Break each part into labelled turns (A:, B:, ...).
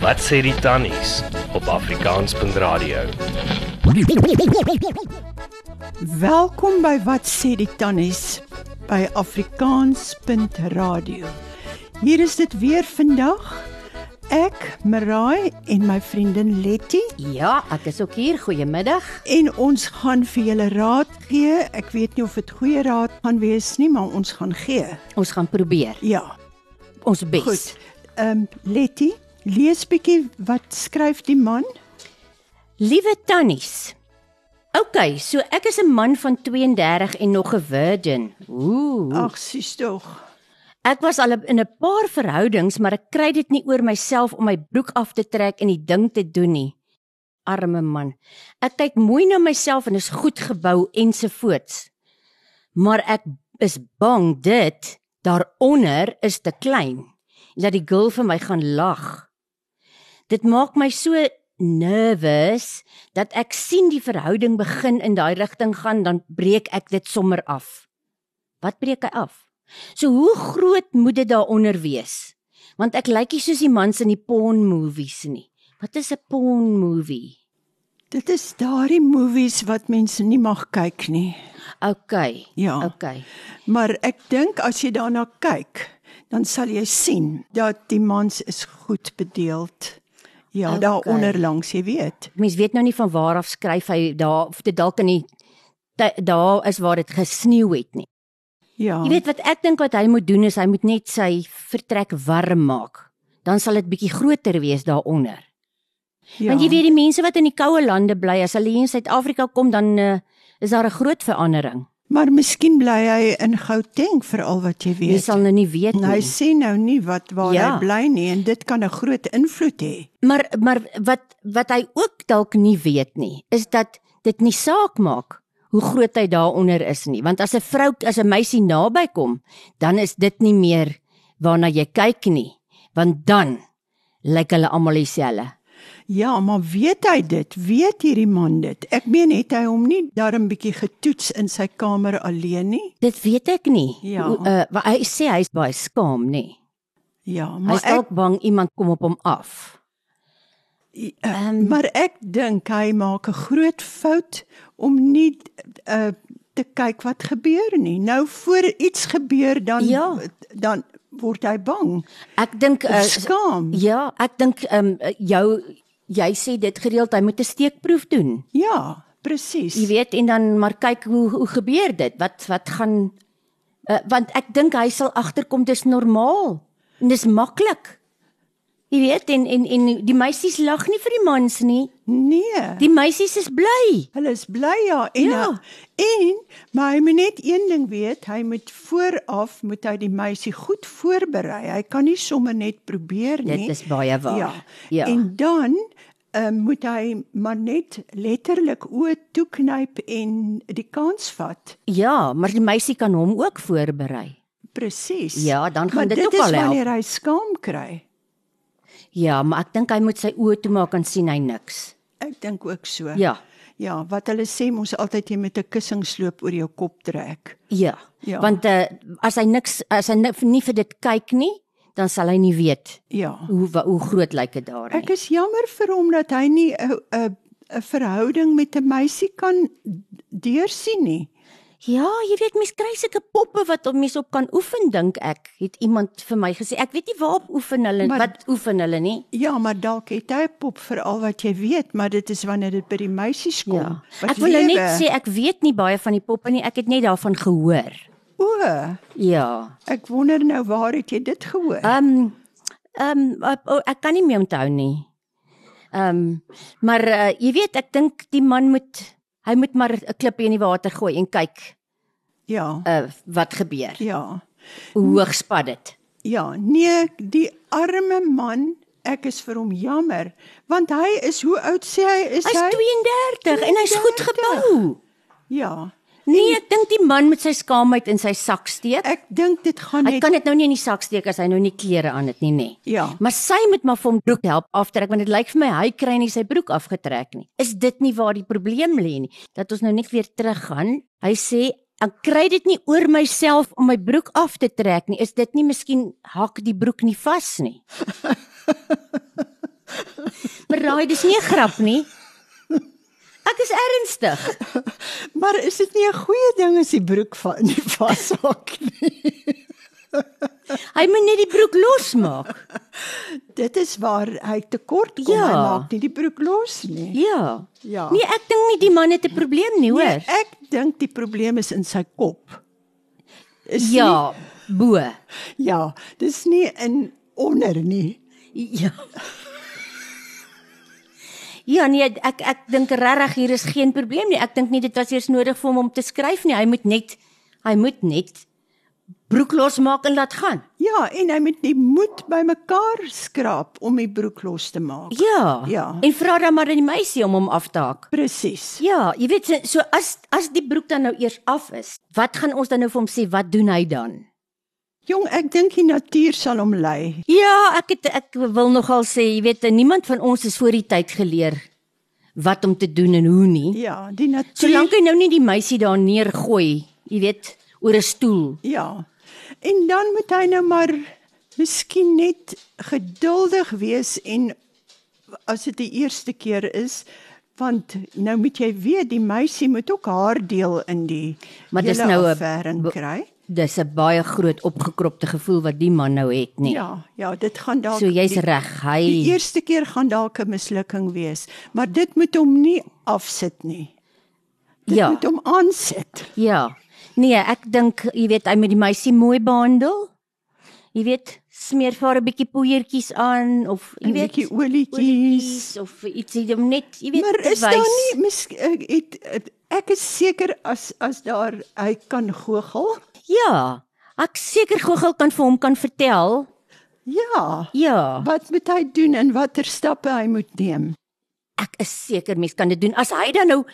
A: Wat sê die tannies op Afrikaans.radio?
B: Welkom by Wat sê die tannies by afrikaans.radio. Hier is dit weer vandag. Ek, Marai en my vriendin Letty
C: Ja, ek is ook hier. Goeiemiddag.
B: en ons gaan vir julle raad gee. Ek weet nie of dit goeie raad gaan wees nie, maar ons gaan gee.
C: Ons gaan probeer.
B: Ja,
C: Ons bes.
B: goed. Ehm Letty, lees bietjie wat skryf die man?
C: Liewe tannies. OK, so ek is 'n man van 32 en nog 'n virgin. Ooh.
B: Ag, sies tog.
C: Ek was al in 'n paar verhoudings, maar ek kry dit nie oor myself om my broek af te trek en die ding te doen nie. Arme man. Ek kyk mooi na myself en is goed gebou ensovoorts. Maar ek is bang dit daaronder is te klein en dat die girl vir my gaan lag. Dit maak my so nervous dat ek sien die verhouding begin in daai rigting gaan, dan breek ek dit sommer af. Wat breek hy af? So hoe groot moet dit daaronder wees? Want ek lyk nie soos die mans in die porn movies nie. Wat is 'n porn movie?
B: Dit is daardie movies wat mense nie mag kyk nie.
C: OK.
B: Ja.
C: OK.
B: Maar ek dink as jy daarna kyk, dan sal jy sien dat die mans is goed bedeeld. Ja,
C: Okay.
B: okay. daaronder langs, jy weet.
C: Mens weet nou nie van waar af skryf hy daar of dit dalk in die ty- daar is waar dit gesneeu het nie.
B: Ja.
C: Jy weet wat ek dink wat hy moet doen is hy moet net sy vertrek warm maak. Dan sal dit bietjie groter wees daaronder.
B: ja.
C: Want jy weet die mense wat in die koue lande bly, as hulle hier in Suid-Afrika kom dan uh, is daar 'n groot verandering.
B: maar miskien bly hy in Gauteng vir al wat jy
C: Jy
B: weet.
C: sal nou nie weet
B: En hy
C: nie.
B: sê nou nie wat waar ja.
C: Ja.
B: hy bly nie en dit kan 'n groot invloed hê.
C: Maar maar wat wat hy ook dalk nie weet nie, is dat dit nie saak maak hoe groot hy daaronder is nie, want as 'n vrou as 'n meisie naby kom, dan is dit nie meer waarna jy kyk nie, want dan lyk hulle almal dieselfde.
B: Ja, maar weet hy dit? Weet hierdie man dit? Ek meen het hy hom nie darm bietjie getoets in sy kamer alleen nie?
C: Dit weet ek nie.
B: Ja.
C: Hoe, Uh, wa- hy sê hy's baie skaam, nê.
B: Ja, maar
C: Hy's dalk bang iemand kom op hom af. Ehm,
B: Maar ek dink hy maak 'n groot fout om nie uh, te kyk wat gebeur nie. Nou voor iets gebeur dan
C: Ja.
B: dan word hy bang.
C: Ek dink
B: Of
C: uh,
B: skaam.
C: ja, ek dink ehm um, jou jy sê dit gereeld hy moet 'n steekproef doen.
B: Ja, presies.
C: Jy weet en dan maar kyk hoe hoe gebeur dit? Wat wat gaan uh, want ek dink hy sal agterkom dis normaal en dis maklik. Jy weet en en en die meisies lag nie vir die mans nie.
B: Nee.
C: Die meisies is bly.
B: Hulle is bly ja en
C: Ja.
B: en maar hy moet net een ding weet, hy moet vooraf moet hy die meisie goed voorberei. Hy kan nie sommer net probeer
C: Dit
B: nie.
C: is baie waar.
B: Ja.
C: Ja.
B: En dan uh, moet hy maar net letterlik oë toeknyp en die kans vat.
C: Ja, maar die meisie kan hom ook voorberei.
B: Presies.
C: Ja, dan gaan
B: maar
C: dit
B: dit
C: ook
B: is
C: al help.
B: wanneer hy skaam kry.
C: Ja, maar ek dink hy moet sy oë toemaak en sien hy niks.
B: Ek dink ook so.
C: Ja.
B: Ja, wat hulle sê mos altyd jy met 'n kussing sloop oor jou kop trek.
C: Ja.
B: Ja.
C: Want uh, as hy niks as hy ni- nie vir dit kyk nie, dan sal hy nie weet
B: Ja.
C: hoe wa- hoe groot lyk dit daar nie.
B: Ek is jammer vir hom dat hy nie 'n 'n 'n verhouding met 'n meisie kan deursien nie.
C: Ja, jy weet mens kry sulke poppe wat om mens op kan oefen dink ek. Het iemand vir my gesê, ek weet nie waarop oefen hulle
B: Maar-
C: maar, wat oefen hulle nie.
B: Ja, maar dalk het hy 'n pop vir al wat jy weet, maar dit is wanneer dit by die meisies kom.
C: Ja.
B: wat
C: Ek wil nou net
B: lewe.
C: sê ek weet nie baie van die poppe nie. Ek het net daarvan gehoor.
B: o,
C: Ja.
B: ek wonder nou waar het jy dit gehoor?
C: Ehm ehm op- o, ek kan nie meer onthou nie. Ehm maar uh, jy weet ek dink die man moet hy moet maar 'n klippie in die water gooi en kyk
B: ja.
C: uh, wat gebeur.
B: Ja.
C: Hoe hoog spat dit?
B: Ja, nee, die arme man, ek is vir hom jammer, want hy is hoe oud sê hy is
C: Hy's 32 en hy's goed
B: 32.
C: gebou.
B: Ja.
C: Nee, ek dink die man moet sy skaamheid in sy sak steek.
B: Ek dink dit gaan
C: Hy
B: net
C: kan dit nou nie in die sak steek as hy nou nie klere aan het nie, nê.
B: Ja.
C: Maar sy moet maar vir hom broek help aftrek want dit lyk vir my hy kry nie sy broek afgetrek nie. Is dit nie waar die probleem lê nie? Dat ons nou net weer teruggaan. Hy sê ek kry dit nie oor myself om my broek af te trek nie. Is dit nie miskien hak die broek nie vas nie? Daai dis nie 'n grap nie. Ek is ernstig.
B: Maar is dit nie 'n goeie ding as die broek van die vashak nie?
C: Hy moet net die broek losmaak.
B: Dit is waar hy tekort kom.
C: Ja.
B: Hy maak nie die broek los nie.
C: Ja.
B: Ja.
C: Nee, ek dink nie die man het 'n probleem nie, hoor.
B: Nee, ek dink die probleem is in sy kop. Is
C: Ja, bo.
B: nie, ja, dis nie in onder nie.
C: Ja. Ja nee, ek ek dink regtig hier is geen probleem nie. Ek dink nie dit was eers nodig vir hom om te skryf nie. Hy moet net hy moet net broek losmaak en laat gaan.
B: Ja, en hy moet die moed bymekaar skraap om die broek los te maak.
C: Ja.
B: Ja.
C: En vra dan maar aan die meisie om hom af te haak.
B: Presies.
C: Ja, jy weet so- so as as die broek dan nou eers af is, wat gaan ons dan nou vir hom sê? Wat doen hy dan?
B: Jong, ek dink die natuur sal hom lei.
C: Ja, ek het ek wil nogal sê, jy weet, niemand van ons is voor die tyd geleer wat om te doen en hoe nie.
B: Ja, die natuur.
C: Solank hy nou nie die meisie daar neergooi, jy weet, oor 'n stoel.
B: Ja. En dan moet hy nou maar miskien net geduldig wees en as dit die eerste keer is, want nou moet jy weet die meisie moet ook haar deel in die
C: Maar dis
B: hele
C: nou 'n
B: affæring
C: be-
B: kry.
C: Dis 'n baie groot opgekropte gevoel wat die man nou het, nie.
B: Ja, ja, dit gaan dalk
C: so jy's
B: die-
C: reg.
B: Die
C: Hy
B: eerste keer gaan dalk 'n mislukking wees, maar dit moet hom nie afsit nie. Dit
C: Ja.
B: moet hom aansit.
C: Ja. Nee, ek dink jy weet hy moet die meisie mooi behandel. Jy weet, smeer vir haar 'n bietjie poeiertjies aan of jy
B: En
C: weet
B: bietjie olietjies.
C: olietjies of ietsie om net jy weet
B: Maar
C: te
B: is daar
C: wys.
B: nie mis ek het het- ek is seker as as daar hy kan goochel?
C: Ja. Ek seker Gogel kan vir hom kan vertel.
B: Ja.
C: Ja.
B: Wat moet hy doen en watter stappe hy moet neem?
C: Ek is seker mens kan dit doen as hy dan nou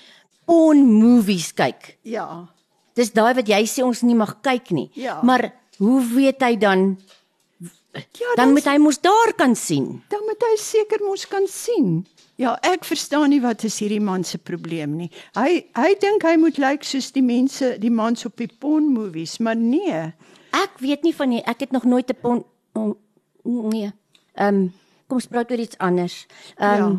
C: on movies kyk.
B: Ja.
C: Dis daai wat jy sê ons nie mag kyk nie.
B: Ja.
C: Maar hoe weet hy dan?
B: Ja,
C: Dan moet hy mos daar kan sien.
B: dan moet hy seker mos kan sien. Ja, ek verstaan nie wat is hierdie man se probleem nie. Hy hy dink hy moet lyk like soos die mense, die mans op die porn movies, maar nee.
C: Ek weet nie van nie. Ek het nog nooit 'n pon on, nee. Ehm um, kom ons praat oor iets anders. Ehm um,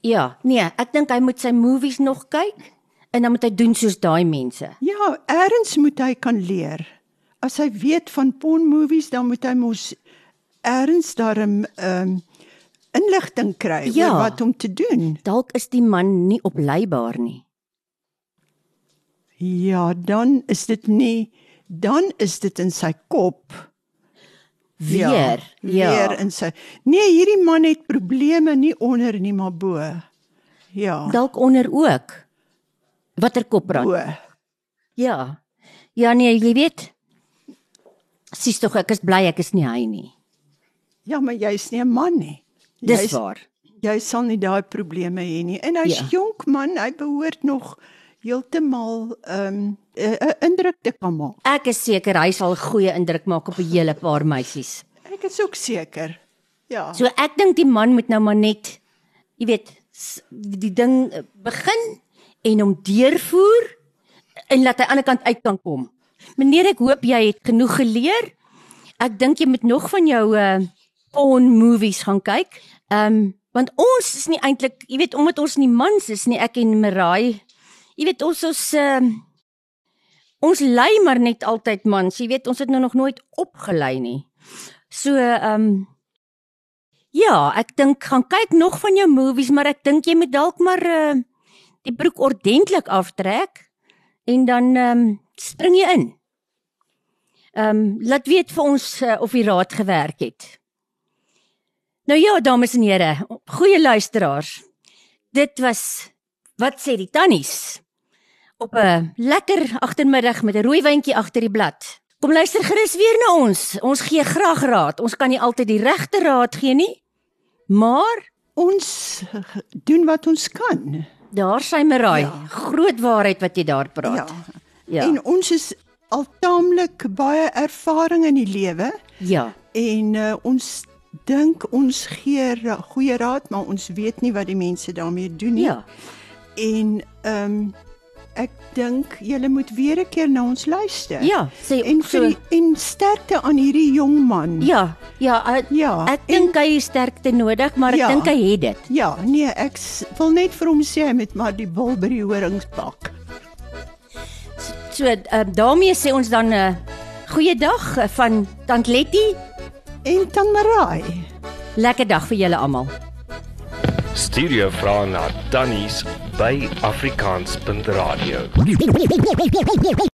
B: ja.
C: ja. ja, nee, ek dink hy moet sy movies nog kyk en dan moet hy doen soos daai mense.
B: Ja, eers moet hy kan leer. As hy weet van porn movies, dan moet hy mos eers daarin ehm inligting kry
C: Ja.
B: oor wat om te doen.
C: Dalk is die man nie opleibaar nie.
B: Ja, dan is dit nie dan is dit in sy kop.
C: Weer. Ja. ja.
B: weer in sy. Nee, hierdie man het probleme nie onder nie, maar bo. Ja.
C: Dalk onder ook. Watter kopbrand?
B: bo.
C: Ja. Ja nee, jy weet. Sies tog ek is bly ek is nie hy nie.
B: Ja, maar jy's nie 'n man nie.
C: Dis
B: Jy's-
C: waar.
B: jy sal nie daai probleme hê nie. En hy's
C: Ja.
B: ja. jonk man, hy behoort nog heeltemal 'n um, 'n indruk te kan maak.
C: Ek is seker hy sal goeie indruk maak op 'n hele paar meisies.
B: Ek is ook seker. Ja.
C: So ek dink die man moet nou maar net jy weet s- die ding eh, begin en hom deurvoer en laat hy aan die ander kant uit kan kom. Meneer, ek hoop jy het genoeg geleer. Ek dink jy moet nog van jou uh porn movies gaan kyk. Ehm um, want ons is nie eintlik, jy weet, omdat ons nie mans is nie, ek en Marai. Jy weet ons ons ehm um, ons lei maar net altyd mans. Jy weet, ons het nou nog nooit opgelei nie. So ehm um, ja, ek dink gaan kyk nog van jou movies, maar ek dink jy moet dalk maar uh die broek ordentlik aftrek en dan ehm um, spring jy in. Ehm um, laat weet vir ons uh, of die raad gewerk het. Nou ja, dames en here, goeie luisteraars. Dit was wat sê die tannies op 'n lekker agtermiddag met 'n rooi wyntjie agter die blad. Kom luister gerus weer na ons. Ons gee graag raad. Ons kan nie altyd die regte raad gee nie, maar
B: Ons eh, doen wat ons kan.
C: daar sy Meraai, ja.
B: Ja.
C: groot waarheid wat jy daar
B: Ja.
C: praat.
B: ja. En ons is al taamlik baie ervaring in die lewe
C: ja.
B: en uh, ons dink ons gee ra goeie Nee. raad, maar ons weet nie wat die mense daarmee doen nie.
C: Ja.
B: En ehm um, ek dink julle moet weer 'n keer na ons luister.
C: Ja, sê
B: en vir
C: so.
B: die, en sterkte aan hierdie jong man.
C: Ja, ja, ek,
B: Ja,
C: ek
B: en-
C: dink hy het sterkte nodig, maar ek
B: Ja.
C: dink hy het dit.
B: Ja, nee, ek s- wil net vir hom sê hy moet maar die bil by die horings pak.
C: So uh, daarmee sê ons dan 'n uh, goeie dag eh, van Tant Letty.
B: En Tamarai.
C: Lekker dag vir julle almal.
A: Stuur jou vrae na tannies by afrikaans.radio.
D: Wait, wait, wait, wait, wait, wait, wait, wait.